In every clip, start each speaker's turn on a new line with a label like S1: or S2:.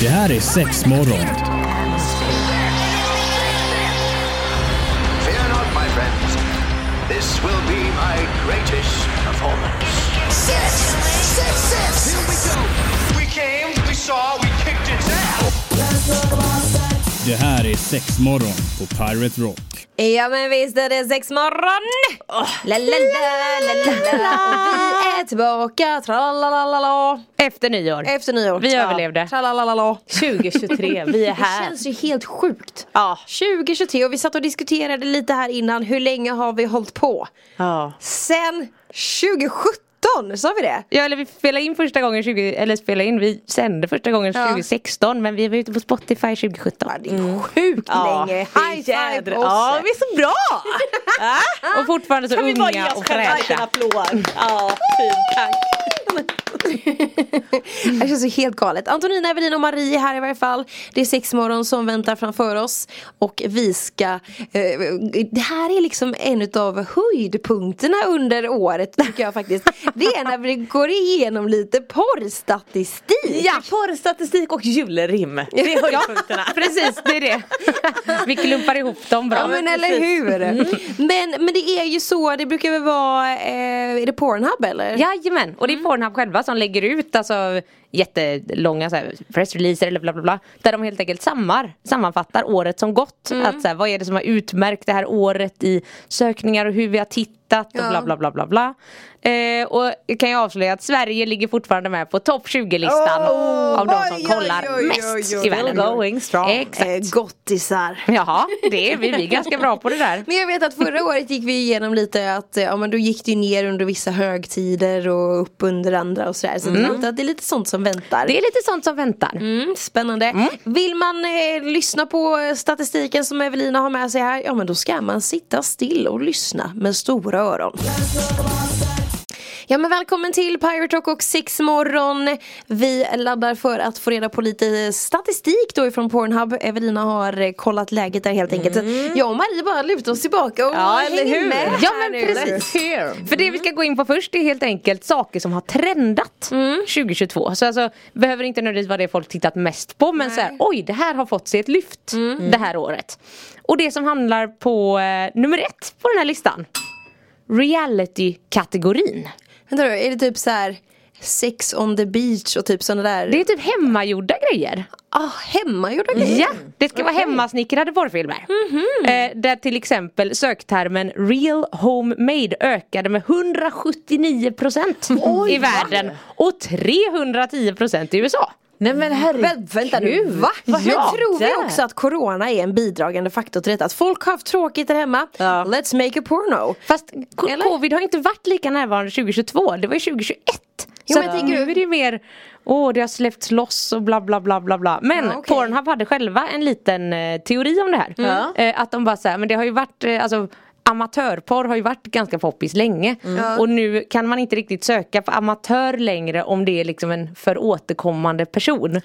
S1: Det här är sex morgon.
S2: Fear not, my friends. This will be my greatest performance.
S3: Six, six, six. Here we go.
S2: We came, we saw, we kicked its ass.
S1: Det här är sex morgon på Pirate Rock.
S4: Ja men visst är det sexmorgon! La, la, la, la, la, la. Och vi är tillbaka, tralalalala.
S5: Efter nyår.
S4: Efter nyår.
S5: Vi överlevde.
S4: Tralalalala.
S5: 2023, vi är
S4: Det
S5: här.
S4: känns ju helt sjukt.
S5: Ja.
S4: 2023 och vi satt och diskuterade lite här innan, hur länge har vi hållit på?
S5: ja.
S4: Sen 2017, sa vi det?
S5: Ja eller vi spelade in första gången 20, eller spelade in, vi sände första gången
S4: Ja.
S5: 2016 men vi var ute på Spotify 2017.
S4: Ja, Det är sjukt
S5: Mm. Ja,
S4: länge.
S5: det är
S4: High five
S5: jädra-
S4: på oss.
S5: Ja, vi är så bra! Och fortfarande så
S6: vi bara ge
S5: unga
S6: oss
S5: och
S6: själva en liten
S5: fräscha.
S6: applåd? Ja, fint, tack.
S4: Det känns ju helt galet. Antonina, Evelin och Marie är här i varje fall. Det är sex morgon som väntar framför oss. Och vi ska... Eh, det här är liksom en av höjdpunkterna under året tycker jag faktiskt. Det är när vi går igenom lite porrstatistik.
S6: Ja. Porrstatistik och julrim. Det är höjdpunkterna.
S5: Precis, det är det. Vi klumpar ihop dem bra.
S4: Ja men eller hur!
S6: Mm.
S5: Mm.
S4: Men, men det är ju så, det brukar väl vara, eh, är det Pornhub eller?
S5: Jajamän, och det är
S4: Mm.
S5: Pornhub själva som lägger ut alltså, jättelånga så här, pressreleaser eller bla bla bla Där de helt enkelt sammar, sammanfattar året som gått
S4: Mm.
S5: att, så här, Vad är det som har utmärkt det här året i sökningar och hur vi har tittat och bla bla bla bla bla eh, Och jag kan ju avslöja att Sverige ligger fortfarande med på topp 20-listan Av de som
S4: oj,
S5: kollar
S4: oj, oj,
S5: mest
S4: oj, oj.
S5: i världen
S4: Still
S6: going strong.
S5: Exakt
S4: Eh, gottisar.
S5: Jaha, det är vi, vi är ganska bra på det där
S4: Men jag vet att förra året gick vi igenom lite att eh, ja, men då gick det ju ner under vissa högtider och upp under andra och sådär. Så det, är inte att det är lite sånt som väntar.
S5: Mm. Det är lite sånt som väntar
S4: Mm, spännande. Vill man eh, lyssna på eh, statistiken som Evelina har med sig här, ja men då ska man sitta still och lyssna med stora öron. Ja men välkommen till Pirate Rock och Six morgon. Vi laddar för att få reda på lite eh, statistik då ifrån Pornhub. Evelina har eh, kollat läget där helt enkelt. Så jag och Marie bara lutar oss tillbaka och
S6: Ja, eller
S4: hänger
S6: hur?
S4: med.
S5: Mm. Ja
S4: här
S5: men
S4: nu.
S5: precis. För det vi ska gå in på först är helt enkelt saker som har trendat
S4: Mm.
S5: 2022. Så alltså behöver inte nödvändigtvis vara det folk tittat mest på men så här, oj det här har fått sig ett lyft
S4: Mm.
S5: det här året. Och det som handlar på eh, nummer ett på den här listan. Reality-kategorin.
S4: Vänta då, är det typ så här sex on the beach och typ sådana där?
S5: Det är typ hemmagjorda grejer.
S4: ah, hemmagjorda
S6: Mm.
S4: grejer.
S5: Ja, det ska vara hemmasnickrade porrfilmer.
S6: Mhm.
S5: Eh, där till exempel söktermen real homemade ökade med 179% i världen och 310% i USA.
S6: Nej men herregud.
S4: Vä- Vänta nu, va? Men
S6: Ja,
S4: tror vi
S6: där.
S4: också att corona är en bidragande faktor till detta? Att folk har haft tråkigt där hemma,
S6: Ja.
S4: let's make a porno
S5: Fast co-
S4: Eller?
S5: covid har inte varit lika närvarande 2022, det var ju 2021.
S4: Jo,
S5: så
S4: men
S5: att
S4: tänker du-
S5: nu är det ju mer, åh det har släppts loss och bla bla bla bla bla. Men
S4: Ja, okej.
S5: Pornhub hade själva en liten eh, teori om det här. Eh, att de bara säger, men det har ju varit, eh, alltså Amatörporr har ju varit ganska poppis länge
S4: Mm.
S5: och nu kan man inte riktigt söka på amatör längre om det är liksom en för återkommande person.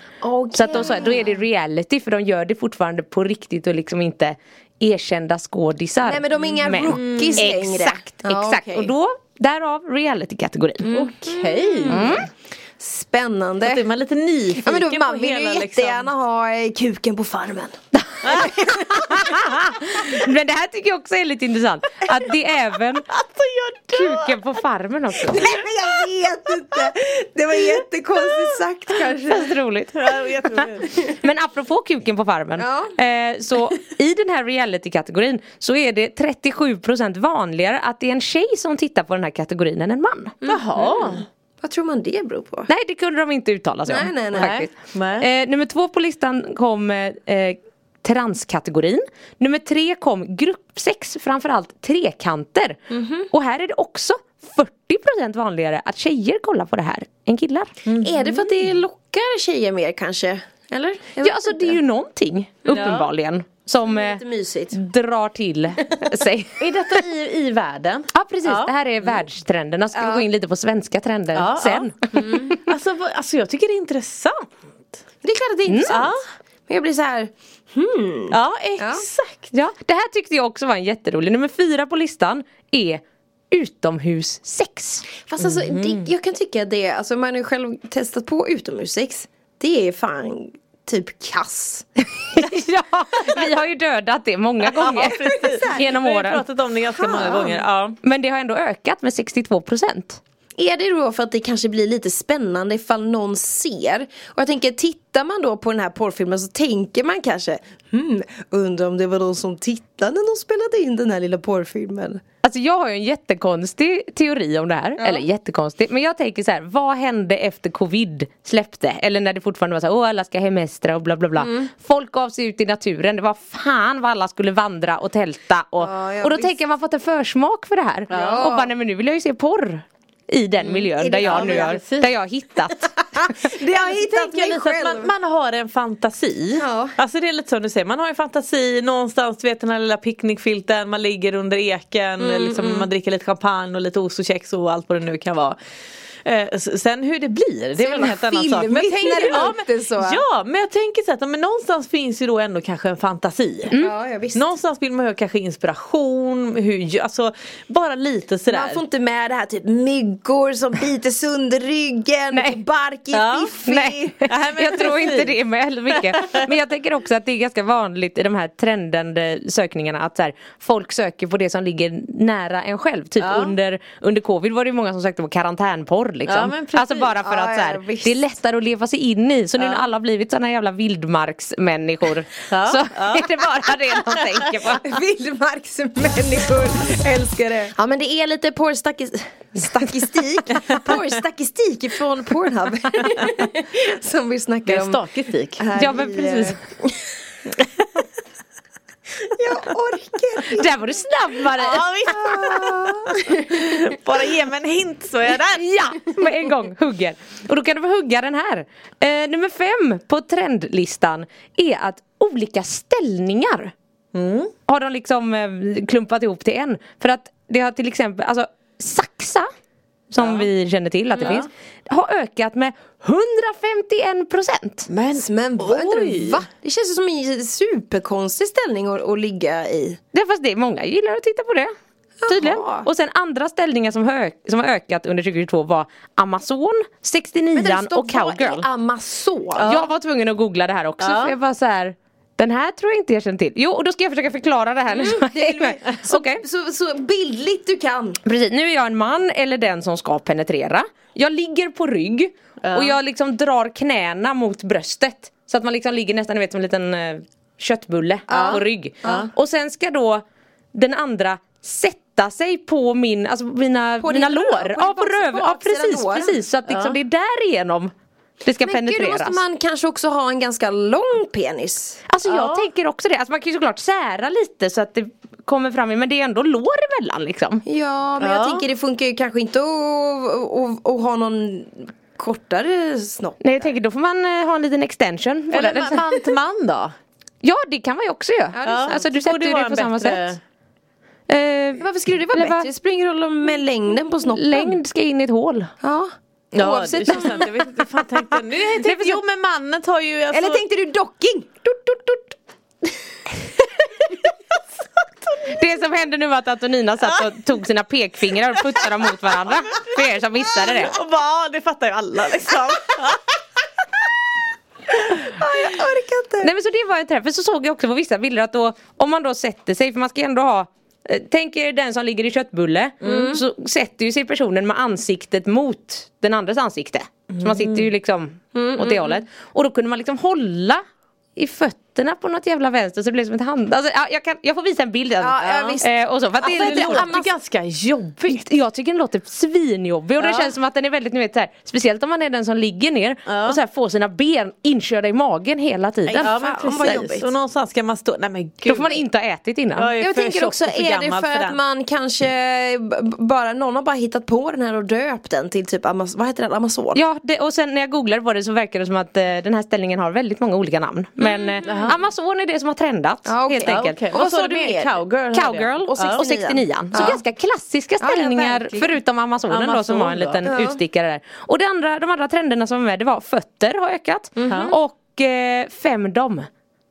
S5: Så att de sa, då är det reality för de gör det fortfarande på riktigt och liksom inte erkända skådisar.
S4: Nej men de är inga rookies längre
S5: Exakt,
S4: Ja,
S5: exakt.
S4: okej. Mm.
S5: Och då, därav reality-kategorin.
S6: Okej.
S4: Spännande
S6: Då är man lite nyfiken
S4: Ja men då, man
S6: på
S4: vill ju
S6: hela
S4: jättegärna ha eh, kuken på farmen
S5: Men det här tycker jag också är lite intressant. Att det är även
S4: Alltså,
S5: kuken på farmen också.
S4: men jag vet inte! Det var jättekonstigt sagt kanske
S5: Fast roligt.
S6: liksom.
S5: Men apropå kuken på farmen.
S4: Ja.
S5: Eh, så i den här reality-kategorin så är det 37% vanligare att det är en tjej som tittar på den här kategorin än en man.
S6: Jaha.
S4: Vad tror man det beror på?
S5: Nej det kunde de inte uttala sig
S4: Nej,
S5: om.
S4: nej, nej.
S5: faktiskt.
S6: Nej.
S5: Eh, nummer två på listan kom eh, eh, transkategorin. Nummer tre kom gruppsex, framförallt trekanter.
S6: Mhm.
S5: Och här är det också 40% vanligare att tjejer kollar på det här än killar.
S6: Mm.
S4: Är det för att det lockar tjejer mer kanske? Eller? Jag
S5: Ja
S4: vet
S5: alltså
S4: inte.
S5: det är ju någonting uppenbarligen som eh,
S4: Lite mysigt
S5: drar till sig.
S6: Är detta i, i världen?
S5: Ja precis,
S6: Ja.
S5: det här är världstrenderna. Ska vi gå in lite på svenska trender
S6: Ja,
S5: sen?
S6: Alltså, vad, alltså jag tycker det är intressant.
S4: Det är klart att
S6: Mm.
S4: det är intressant Men jag blir så här.
S6: Ja exakt.
S5: Ja, det här tyckte jag också var en jätterolig. Nummer fyra på listan är utomhussex.
S4: Fast alltså,
S6: Mm.
S4: det, jag kan tycka det, alltså man har ju själv testat på utomhussex Det är fan
S7: typ kass.
S5: ja, vi har ju dödat det många gånger genom
S6: Vi har ju
S5: åren.
S6: pratat om det ganska många gånger. Ja.
S5: Men det har ändå ökat med 62 procent.
S4: Är det då för att det kanske blir lite spännande ifall någon ser? Och jag tänker, tittar man då på den här porrfilmen så tänker man kanske hmm, undrar om det var de som tittade när de spelade in den här lilla porrfilmen.
S5: Alltså jag har ju en jättekonstig teori om det här, eller jättekonstig, men jag tänker så här, vad hände efter covid släppte? Eller när det fortfarande var så här, åh alla ska hemestra och bla bla bla.
S7: Mm.
S5: Folk gav sig ut i naturen, det var fan vad alla skulle vandra och tälta och,
S7: Ja, ja,
S5: och då
S7: visst.
S5: tänker jag, man har fått en försmak för det här. Och bara, nej men nu vill jag ju se porr. I den miljön
S7: Mm. I
S5: där
S7: den- ja,
S5: jag nu
S7: men
S5: har,
S7: precis.
S5: där jag har hittat.
S7: Det har jag
S6: Så
S7: hittat
S6: tänker jag
S7: mig
S6: lite
S7: själv.
S6: att man, man har en fantasi.
S7: Ja.
S6: Alltså det är lite som du säger, man har en fantasi någonstans, du vet den här lilla picknickfilten, man ligger under eken,
S7: Mm,
S6: liksom, man dricker lite champagne och lite ost och kex och allt vad det nu kan vara. Eh, s- sen hur det blir, det är väl en helt annan sak.
S7: filmigt när det
S6: ja, men,
S7: låter så.
S6: ja, men jag tänker så här, att men någonstans finns ju då ändå kanske en fantasi.
S7: Mm. Ja, ja, visst.
S6: Någonstans vill man ju ha kanske inspiration, hur, alltså bara lite sådär.
S4: Man får inte med det här typ myggor som biter sönder ryggen,
S5: Nej.
S4: och bark i
S6: Ja.
S4: fiffi.
S5: Nej,
S6: Nej, men
S5: jag tror
S6: precis.
S5: inte det med heller mycket. Men jag tänker också att det är ganska vanligt i de här trendande sökningarna att så här, folk söker på det som ligger nära en själv. Typ under, under covid var det ju många som sökte på karantänporr
S6: Ja,
S5: liksom.
S6: men precis.
S5: alltså bara för
S7: Ja,
S5: att så
S7: ja,
S5: här,
S7: visst.
S5: det är lättare att leva sig in i. Så nu när alla har blivit sådana jävla vildmarksmänniskor så är det bara det de tänker på.
S7: Vildmarksmänniskor älskar det.
S4: Ja men det är lite porrstatistik, porrstatistik från Pornhub som vi
S6: det är
S4: snackar om.
S6: stakistik.
S4: här
S5: Ja men
S4: i,
S5: precis.
S4: eh, Jag orkar inte.
S5: Där var du snabb Marie!
S6: Ja, visst. Bara ge mig en hint så är jag där.
S5: Ja, med en gång hugger. Och då kan du få hugga den här. Eh, nummer fem på trendlistan är att olika ställningar har de liksom eh, klumpat ihop till en. För att det har till exempel, alltså saxa som vi känner till att det finns har ökat med 151 procent.
S4: Men, men vad,
S6: Oj.
S4: va? Det känns ju som en superkonstig ställning att, att ligga i.
S5: Det är fast det är många gillar att titta på det. Tydligen.
S4: Jaha.
S5: Och sen andra ställningar som, hö- som har ökat under 2022 var Amazon, 69 och Cowgirl.
S4: Amazon.
S5: Jag var tvungen att googla det här också för jag var så här. Den här tror jag inte jag känner till. Jo, och då ska jag försöka förklara det här
S4: Mm,
S5: nu.
S4: Så,
S5: Okej.
S4: så, så bildligt du kan.
S5: Precis, nu är jag en man eller den som ska penetrera. Jag ligger på rygg och jag liksom drar knäna mot bröstet. Så att man liksom ligger nästan ni vet, som en liten eh, köttbulle på rygg. Och sen ska då den andra sätta sig på min, alltså mina,
S4: På din
S5: mina
S4: röv,
S5: lår.
S4: på
S5: ja,
S4: din
S5: på röv. Ja,
S4: baksida
S5: precis,
S4: lår.
S5: precis. Så att liksom det är därigenom det ska
S4: Men gud, då
S5: penetreras.
S4: måste man kanske också ha en ganska lång penis.
S5: Alltså jag tänker också det, alltså man kan ju såklart sära lite så att det kommer fram, men det är ändå lår emellan liksom.
S4: Ja, men jag tänker det funkar ju kanske inte att, att, att, att ha någon kortare snopp.
S5: Nej jag tänker då får man eh, ha en liten extension. på den.
S6: Eller man till man då?
S5: Ja det kan man ju också göra.
S6: sant.
S5: alltså du
S6: Borde
S5: sätter ju
S6: vara
S5: det på
S6: en
S5: samma
S6: bättre-
S5: sätt. Eh,
S4: Varför skulle det vara
S5: Eller
S4: bättre?
S5: vad?
S4: Det spelar ingen roll om med längden på snoppen.
S5: längd ska in i ett hål.
S4: Ja.
S6: Ja,
S4: Oavsett.
S6: det känns sant. Jag vet inte fan tänkte jag. Nu jag tänkte, jo men mannen tar ju alltså...
S4: Eller tänkte du docking? Tut, tut, tut.
S5: Det som hände nu var att Antonina satt och tog sina pekfingrar och puttade dem mot varandra. För er som missade det.
S6: Och bara, ja, det fattar ju alla liksom.
S5: Nej men så det var en träff, för så såg jag också på vissa bilder att då om man då sätter sig, för man ska ju ändå ha eh, Tänk er den som ligger i köttbulle så sätter ju sig personen med ansiktet mot den andres ansikte. Så man sitter ju liksom åt det hållet. Och då kunde man liksom hålla i fötterna på något jävla vänster så det blev som ett hand... Alltså, ja, jag, kan, jag får visa en bild sen.
S4: Ja, ja, visst.
S5: Eh, och så, för att det är
S6: det
S5: lite
S6: låter
S5: annars-
S6: ju ganska jobbigt.
S5: jag tycker den låter svinjobbig och det känns som att den är väldigt, ni vet så här, speciellt om man är den som ligger ner och så här får sina ben inkörda i magen hela tiden.
S6: Ja men
S5: Fan, vad
S6: precis. Och någonstans ska man stå, nej men gud.
S5: då får man inte ha ätit innan.
S6: Jag är
S4: Jag
S6: för
S4: tänker
S6: tjock
S4: också,
S6: och för
S4: är det
S6: gammal
S4: för att
S6: den.
S4: man kanske b- b- bara, någon har bara hittat på den här och döpt den till typ, Amaz- vad heter den, Amazon?
S5: Ja, det, och sen när jag googlade på det så verkar det som att eh, den här ställningen har väldigt många olika namn. Men eh, Amazon är det som har trendat
S4: Mm. Ja, okej.
S5: helt enkelt.
S6: Okej, Vad sa du mer? Cowgirl? hörde jag.
S5: Cowgirl och 69.
S4: Ja.
S5: och 69. Så
S4: Ja.
S5: ganska klassiska
S4: Ja, ja,
S5: ställningar
S4: verkligen.
S5: förutom Amazonen då som
S6: Amazon
S5: var en
S6: då.
S5: liten
S4: Ja.
S5: utstickare där. Och det andra, de andra trenderna som var med det var fötter har ökat
S4: Mm-hmm.
S5: och eh, femdom.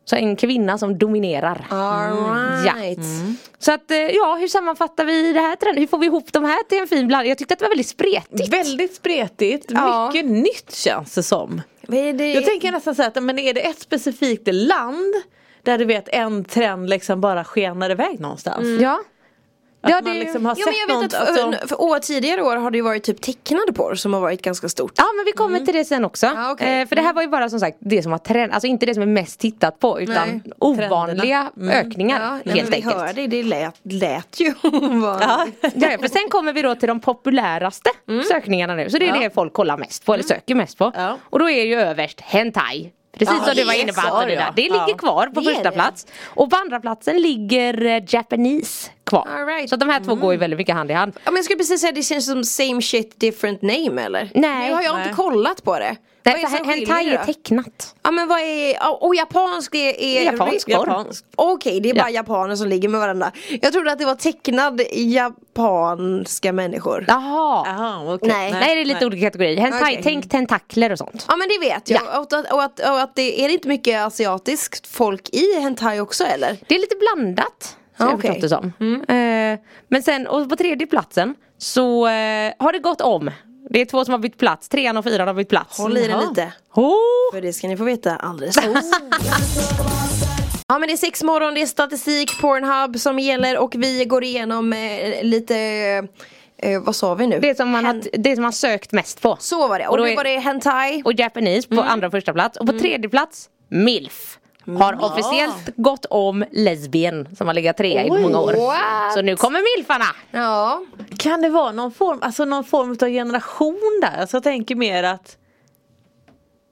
S5: Så en kvinna som dominerar.
S6: Mm,
S4: Alright.
S5: Så att eh, ja, hur sammanfattar vi det här trenden? Hur får vi ihop de här till en fin blandning? Jag tyckte att det var väldigt spretigt.
S6: Väldigt spretigt,
S4: Ja.
S6: mycket nytt känns det som.
S4: Vad är det?
S6: Jag tänker nästan så här att men är det ett specifikt land där du vet en trend liksom bara skenar iväg någonstans.
S4: Mm.
S5: Ja.
S6: Att
S5: Ja,
S6: man
S5: det-
S6: liksom har
S4: Ja,
S6: sett
S4: men jag vet
S6: något.
S4: att för,
S6: alltså,
S4: för år, tidigare år har det ju varit typ tecknad porr som har varit ganska stort.
S5: Ja men vi kommer till det sen också.
S4: Mm. Ja, okej. Mm.
S5: eh, för det här var ju bara som sagt det som var trend, alltså inte det som är mest tittat på utan
S4: Nej. Mm.
S5: ovanliga ökningar
S4: Ja, nej, men
S5: helt
S4: vi
S5: enkelt.
S4: hörde det, det lät, lät ju
S6: ja.
S4: ovanligt.
S5: Ja, ja, för sen kommer vi då till de populäraste
S4: Mm.
S5: sökningarna nu. Så det är det folk kollar mest på, eller söker mest på.
S6: Ja.
S5: Och då är ju överst hentai. Precis
S6: Ja,
S5: som du var
S6: det
S5: inne på
S6: sa
S5: Antonina.
S6: jag.
S5: Det ligger
S6: Ja.
S5: kvar på
S4: Det är
S5: första
S4: det.
S5: plats. Och på andra platsen ligger eh, Japanese kvar.
S4: All right. Mm.
S5: Så att de här två går ju väldigt mycket hand i hand.
S4: Ja, men jag skulle precis säga det känns som same shit different name eller?
S5: Nej.
S4: Nu har jag
S5: Nej.
S4: inte kollat på det. Vad
S5: Nej,
S4: är det
S5: för
S4: som
S5: hentai
S4: skiljer
S5: är
S4: då?
S5: tecknat.
S4: Ja men vad är, ja, och japansk är, är
S5: Japansk porr.
S4: japansk. Okej det är bara japaner som ligger med varandra Jag trodde att det var tecknad japanska människor Ja,
S5: Jaha.
S6: Jaha, okej.
S4: Ah, Nej.
S5: Nej det är lite olika kategorier. Hentai,
S4: Okej.
S5: tänk tentakler och sånt.
S4: men det vet jag och, att, och, att, och att det är det inte mycket asiatiskt folk i hentai också eller?
S5: Det är lite blandat. Så
S4: Ja,
S5: jag
S4: Ah, okej.
S5: förstått det som. Eh, men sen och på tredje platsen så eh, har det gått om. Det är två som har bytt plats, trean och fyran har bytt plats.
S4: Håll i den
S5: Jaha.
S4: lite
S5: Oh!
S4: För det ska ni få veta alldeles strax. Ja men det är sex morgon, det är statistik, Pornhub som gäller och vi går igenom eh, lite, eh, vad sa vi nu?
S5: Det som, man har,
S4: Hen-
S5: det som man sökt mest på.
S4: Så Mm. var det, och,
S5: då
S4: nu
S5: är-
S4: var det hentai
S5: Och Japanese på andra och första plats. Och på tredje plats, MILF. Har
S4: Mm.
S5: officiellt gått om lesbien som har legat trea i många år.
S4: what?
S5: Så nu kommer milfarna!
S4: Ja,
S6: Kan det vara någon form, alltså någon form av generation där? Alltså jag tänker mer att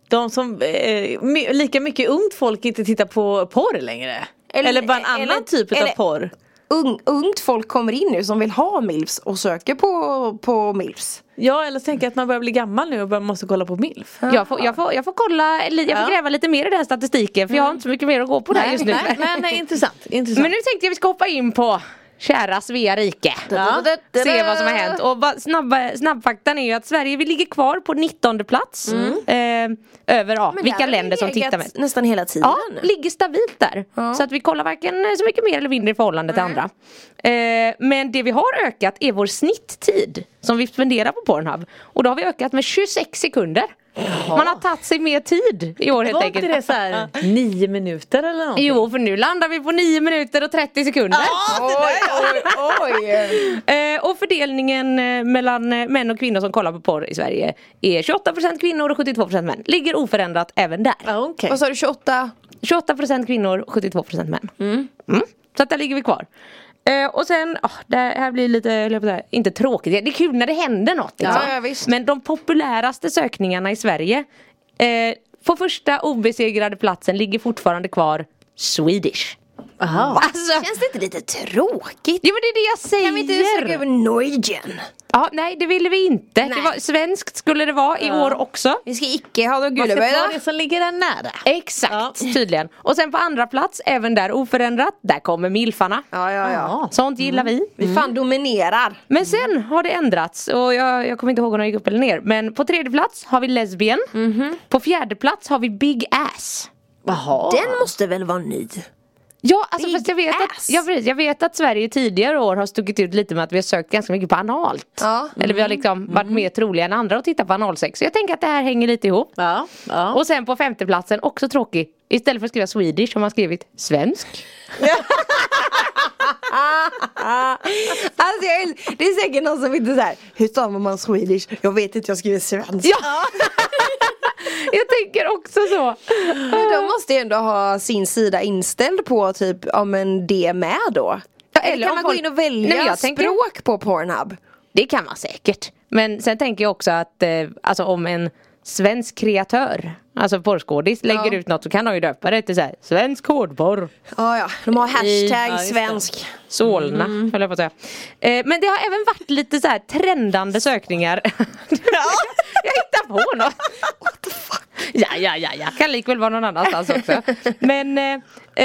S6: de som, eh, my, lika mycket ungt folk inte tittar på porr längre.
S4: Eller-
S6: Eller, bara en annan
S4: eller-
S6: typ
S4: eller-
S6: av porr.
S4: Ung, ungt folk kommer in nu som vill ha milfs och söker på, på milfs
S6: Ja eller så tänker jag att man börjar bli gammal nu och bara måste kolla på milf.
S5: Jag får, jag, får, jag får kolla, li- jag får
S6: Ja.
S5: gräva lite mer i den här statistiken för jag har
S4: Mm.
S5: inte så mycket mer att gå på där just nu.
S6: Nej, men nej, intressant. intressant.
S5: Men nu tänkte jag vi ska hoppa in på kära Svea rike.
S6: Ja.
S5: Se vad som har hänt. Och vad- snabba, snabbfaktan är ju att Sverige vi ligger kvar på 19 plats.
S6: Mm.
S5: Eh, över ja, vilka länder som tittar mest.
S4: Nästan hela tiden
S5: Ja, ligger stabilt där. Så att vi kollar varken eh, så mycket mer eller mindre i förhållande till andra. Eh, men det vi har ökat är vår snitttid som vi spenderar på Pornhub. Och då har vi ökat med 26 sekunder. Man har tagit sig mer tid i år helt
S6: Var inte
S5: enkelt.
S6: det så här nio minuter eller någonting?
S5: Jo, för nu landar vi på 9 minuter och 30 sekunder.
S4: Oj, oj, oj
S5: Eh, och fördelningen eh, mellan eh, män och kvinnor som kollar på porr i Sverige är 28% kvinnor och 72% män. Ligger oförändrat även där.
S6: Ja, okej.
S4: Vad sa du, 28?
S5: 28% kvinnor och 72% män. Mm. Så att där ligger vi kvar. Eh, och sen, ah, det här blir lite, höll jag på att säga, inte tråkigt, det är kul när det händer något. Liksom.
S4: Ja, ja, visst.
S5: Men de populäraste sökningarna i Sverige eh, på första obesegrade platsen ligger fortfarande kvar Swedish.
S6: Aha.
S5: Alltså,
S4: Känns det inte lite tråkigt?
S5: jo men det är det jag säger!
S4: Kan vi inte söka över Norwegian?
S5: Ja, nej det ville vi inte.
S4: Nej.
S5: Det var, svenskt skulle det vara i år också.
S4: Vi ska icke ha några
S6: Man ska ta
S4: guleböjda
S6: det som ligger där nära.
S5: Exakt, tydligen. Och sen på andra plats, även där oförändrat, där kommer milfarna.
S4: Ja, ja, ja Mm.
S5: Sånt gillar vi.
S4: Vi fan dominerar
S5: Men sen har det ändrats och jag, jag kommer inte ihåg om de gick upp eller ner. Men på tredje plats har vi lesbien.
S4: Mhm.
S5: På fjärde plats har vi big ass.
S6: Jaha.
S4: Den måste väl vara ny?
S5: Ja, alltså
S4: Big
S5: fast jag vet,
S4: ass.
S5: att, jag, vet- jag vet att Sverige tidigare år har stuckit ut lite med att vi har sökt ganska mycket på analt.
S4: Ja.
S5: Eller vi har liksom varit mer troliga än andra att titta på analsex. Så jag tänker att det här hänger lite ihop.
S6: Ja, ja.
S5: Och sen på femteplatsen, också tråkig. Istället för att skriva Swedish har man skrivit svensk.
S4: Alltså jag, äl- det är säkert någon som inte såhär Hur stavar man Swedish? Jag vet inte, jag skriver svenska
S5: Ja! jag tänker också så.
S4: Men de måste ju ändå ha sin sida inställd på typ, ja men det med då. Ja, eller,
S5: eller
S4: kan
S5: om
S4: man
S5: folk-
S4: gå in och välja
S5: Nej, men jag tänker-
S4: språk på Pornhub?
S5: Det kan man säkert. Men sen tänker jag också att eh, alltså om en svensk kreatör, alltså porrskådis, lägger ut något så kan de ju döpa det till så här, svensk hårdporr.
S4: Ja, ja, de har hashtag
S6: ja, just det.
S4: svensk.
S5: Solna, höll jag på att säga. Eh, men det har även varit lite så här trendande sökningar. jag hittar på något. What the fuck? Ja, ja, ja, ja. Kan likväl vara någon annanstans också. Men eh,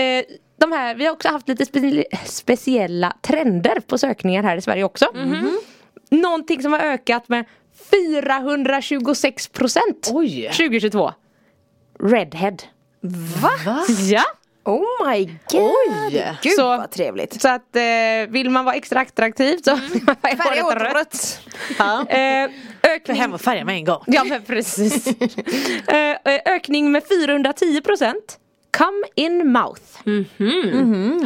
S5: eh, de här, vi har också haft lite spe speciella trender på sökningar här i Sverige också. Någonting som har ökat med 426 procent
S6: Oj.
S5: 2022. Redhead. Va? Ja.
S4: Oh my god!
S6: Oj.
S4: Gud
S5: Så-
S4: vad trevligt.
S5: Så att eh, vill man vara extra attraktiv så mm.
S4: Färga
S5: håret
S4: åt
S5: rött.
S4: rött.
S5: Eh,
S6: För hem och färga med en gång.
S5: Ja men precis. Eh, eh, Ökning med 410 procent. Come in mouth.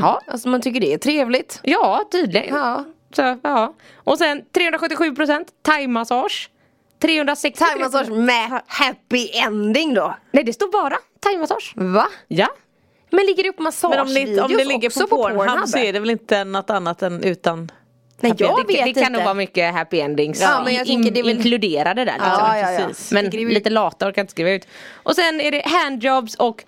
S4: Ja, alltså man tycker det är trevligt.
S5: Ja tydligen.
S4: Ja.
S5: Så, ja. Och sen 377 procent thaimassage. 360
S4: Thaimassage med happy ending då.
S5: Nej det står bara thaimassage.
S4: Va?
S5: Ja.
S4: Men ligger det upp
S6: Men om det,
S4: massagevideos
S6: om det ligger
S4: också
S6: på Pornhub så är det väl inte något annat än utan
S4: Nej jag vet
S5: det, det
S4: inte.
S5: kan nog vara mycket happy endings
S4: Ja, men jag
S5: in-
S4: tänker det är väl-
S5: inkluderade där. Liksom.
S4: Ja, ja, ja.
S6: Precis.
S5: Men
S4: Skriv ut.
S5: lite lata orkar inte skriva ut. Och sen är det handjobs och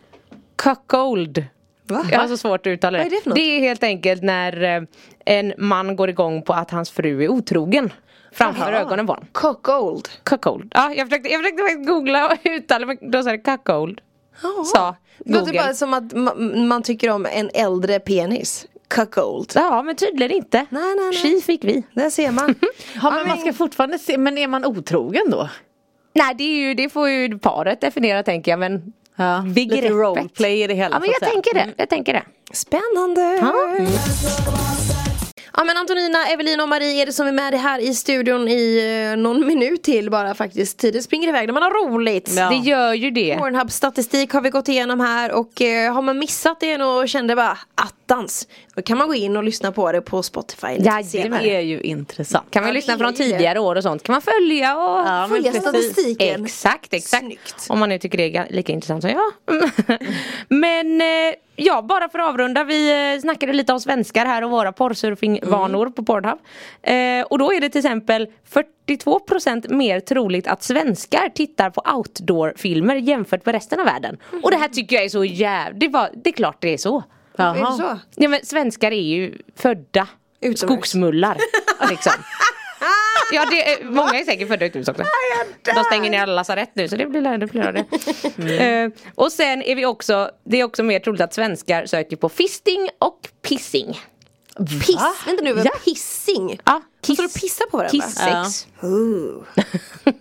S5: cuckold.
S4: Va?
S5: Jag har så svårt att uttala det.
S4: Vad är det för något?
S5: är helt enkelt när eh, en man går igång på att hans fru är otrogen. Framför ögonen på honom.
S4: Cuckold.
S5: Cuckold. Ja, jag försökte, jag försökte faktiskt googla och uttala men då sa det cuckold. Sa
S4: Det låter
S5: Google.
S4: bara som att man, man tycker om en äldre penis. Cuckold.
S5: Ja men tydligen inte.
S4: Nej, nej, nej.
S5: Tji fick vi.
S4: Där ser man.
S6: Ja, men man ska fortfarande se, men är man otrogen då?
S5: Nej det, är ju, det får ju paret definiera tänker jag men
S6: Ja, lite
S5: Begreppet.
S6: roleplay i det hela
S5: Ja men
S6: så att
S5: jag
S6: säga.
S5: tänker det, jag tänker det.
S4: Spännande!
S5: Ja.
S4: Ja men Antonina, Evelina och Marie är det som är med här i studion i eh, någon minut till bara faktiskt. Tiden springer iväg när man har roligt.
S6: Ja.
S5: Det gör ju det.
S4: Pornhub statistik har vi gått igenom här och eh, har man missat det och kände bara attans. Då kan man gå in och lyssna på det på Spotify lite
S5: Jajamän.
S4: senare.
S6: Det är ju intressant.
S5: Kan man
S4: Ja,
S5: lyssna
S4: det
S5: från
S4: är ju
S5: tidigare år och sånt kan man följa och
S6: Ja, men
S4: Följa
S6: precis.
S4: statistiken.
S5: Exakt, exakt.
S4: Snyggt.
S5: Om man nu tycker det är ga- lika intressant som jag. men eh, ja, bara för att avrunda. Vi eh, snackade lite om svenskar här och våra porrsurfingvanor
S6: Mm.
S5: på Pornhub. Eh, och då är det till exempel 42% mer troligt att svenskar tittar på outdoor-filmer jämfört med resten av världen. Och
S6: Mm.
S5: det här tycker jag är så jävligt. Det, var- det är klart det är så.
S4: Är det så?
S5: Ja men svenskar är ju födda
S4: Utomhus.
S5: skogsmullar liksom. Ja, det är, många är säkert födda utomhus också. De stänger ner alla lasarett nu så det blir ännu fler av det.
S6: Mm.
S5: Eh, och sen är vi också, det är också mer troligt att svenskar söker på fisting och pissing.
S4: Piss, vänta nu,
S5: Ja.
S4: pissing?
S5: Ja,
S4: Står och pissar på varandra?
S5: Kissex.
S4: Ooh.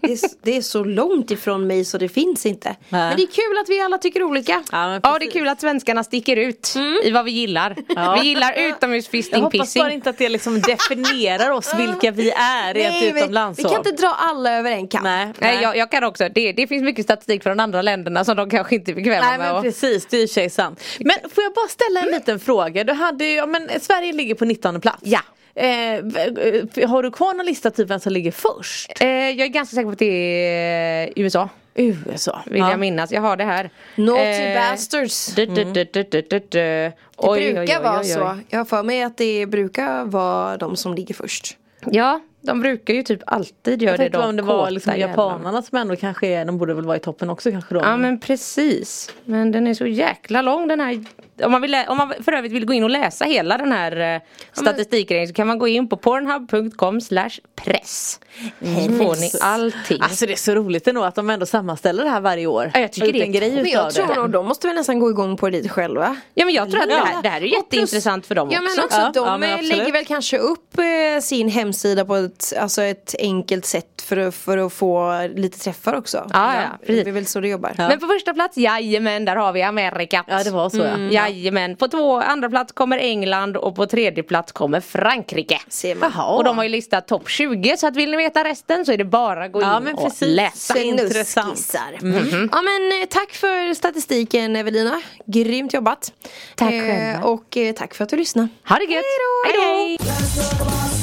S4: Det, är, s- det är så långt ifrån mig så det finns inte. Men det är kul att vi alla tycker olika.
S6: Ja,
S5: Ja.
S6: men
S5: det är
S6: precis. Mm.
S5: kul att svenskarna sticker ut i vad vi gillar. Vi gillar
S6: Jag
S5: utomhusfisting,
S6: hoppas
S5: pissing.
S6: bara inte att det liksom definierar oss vilka vi är rent
S4: Nej, vi,
S6: utomlands.
S4: vi kan
S6: så.
S4: inte dra alla över en kam.
S6: Nej,
S5: Nej, jag, jag kan också, det, det finns mycket statistik från andra länderna som de kanske inte är bekväma
S6: Nej
S5: med.
S6: men
S5: att-
S6: precis, det är i och för sig sant. Men får jag bara ställa en liten fråga. Du hade ju, ja, men Sverige ligger på 19 plats.
S5: Ja.
S6: Eh, v- eh, har du kvar någon lista till vem som ligger först?
S5: Eh, jag är ganska säker på att det är eh, USA.
S6: USA.
S5: Vill jag minnas. Jag har det här. Eh,
S4: Naughty
S6: Eh,
S4: bastards.
S5: du, du, du, du, du, du, du. Det
S4: Det brukar vara så. Jag har för mig att det brukar vara de som ligger först.
S5: Ja, de brukar ju typ alltid göra
S6: Jag
S5: det.
S6: tänkte
S5: De
S6: om det var
S5: kåta
S6: liksom
S5: jävlarna.
S6: japanerna som ändå kanske är, de borde väl vara i toppen också kanske då.
S5: Ja men precis. Men den är så jäkla lång den här. Om man, vill, lä- om man för övrigt vill gå in och läsa hela den här eh, statistikgrejen så kan man gå in på pornhub.com slash press.
S4: Mm.
S5: Då får ni allting.
S6: Alltså det är så roligt ändå att de ändå sammanställer det här varje år.
S5: Ja, jag tycker
S6: Och gjort
S5: det är
S6: en grej
S4: Men jag
S6: utav
S4: tror
S6: det.
S4: nog de måste väl nästan gå igång på det lite själva.
S5: Ja men jag tror att det här, det här är
S4: Och plus-
S5: jätteintressant för dem
S4: Ja
S5: också.
S4: men också
S6: Ja,
S4: att de
S6: ja, men
S4: eh,
S6: absolut.
S4: lägger väl kanske upp eh, sin hemsida på ett, alltså ett enkelt sätt för, att- för att få lite träffar också.
S5: Ja, ja, precis.
S4: Det är väl så det jobbar.
S5: Men på första plats, jajamän, där har vi Amerika.
S6: Ja det var så ja.
S5: Mm. Jajamän. På två, andra plats kommer England och på tredje plats kommer Frankrike.
S4: Ser man.
S5: Och de har ju listat topp 20 så att vill ni veta resten så är det bara att gå in
S6: Ja, men
S5: och
S6: precis.
S5: läsa.
S6: Så intressant. Mm.
S4: Snuskisar.
S5: Mhm.
S4: Ja men eh, tack för statistiken Evelina. Grymt jobbat. eh,
S5: Tack själva.
S4: Och eh, tack för att du lyssnade.
S5: Ha det gött!
S4: Hej då.
S5: Hej då.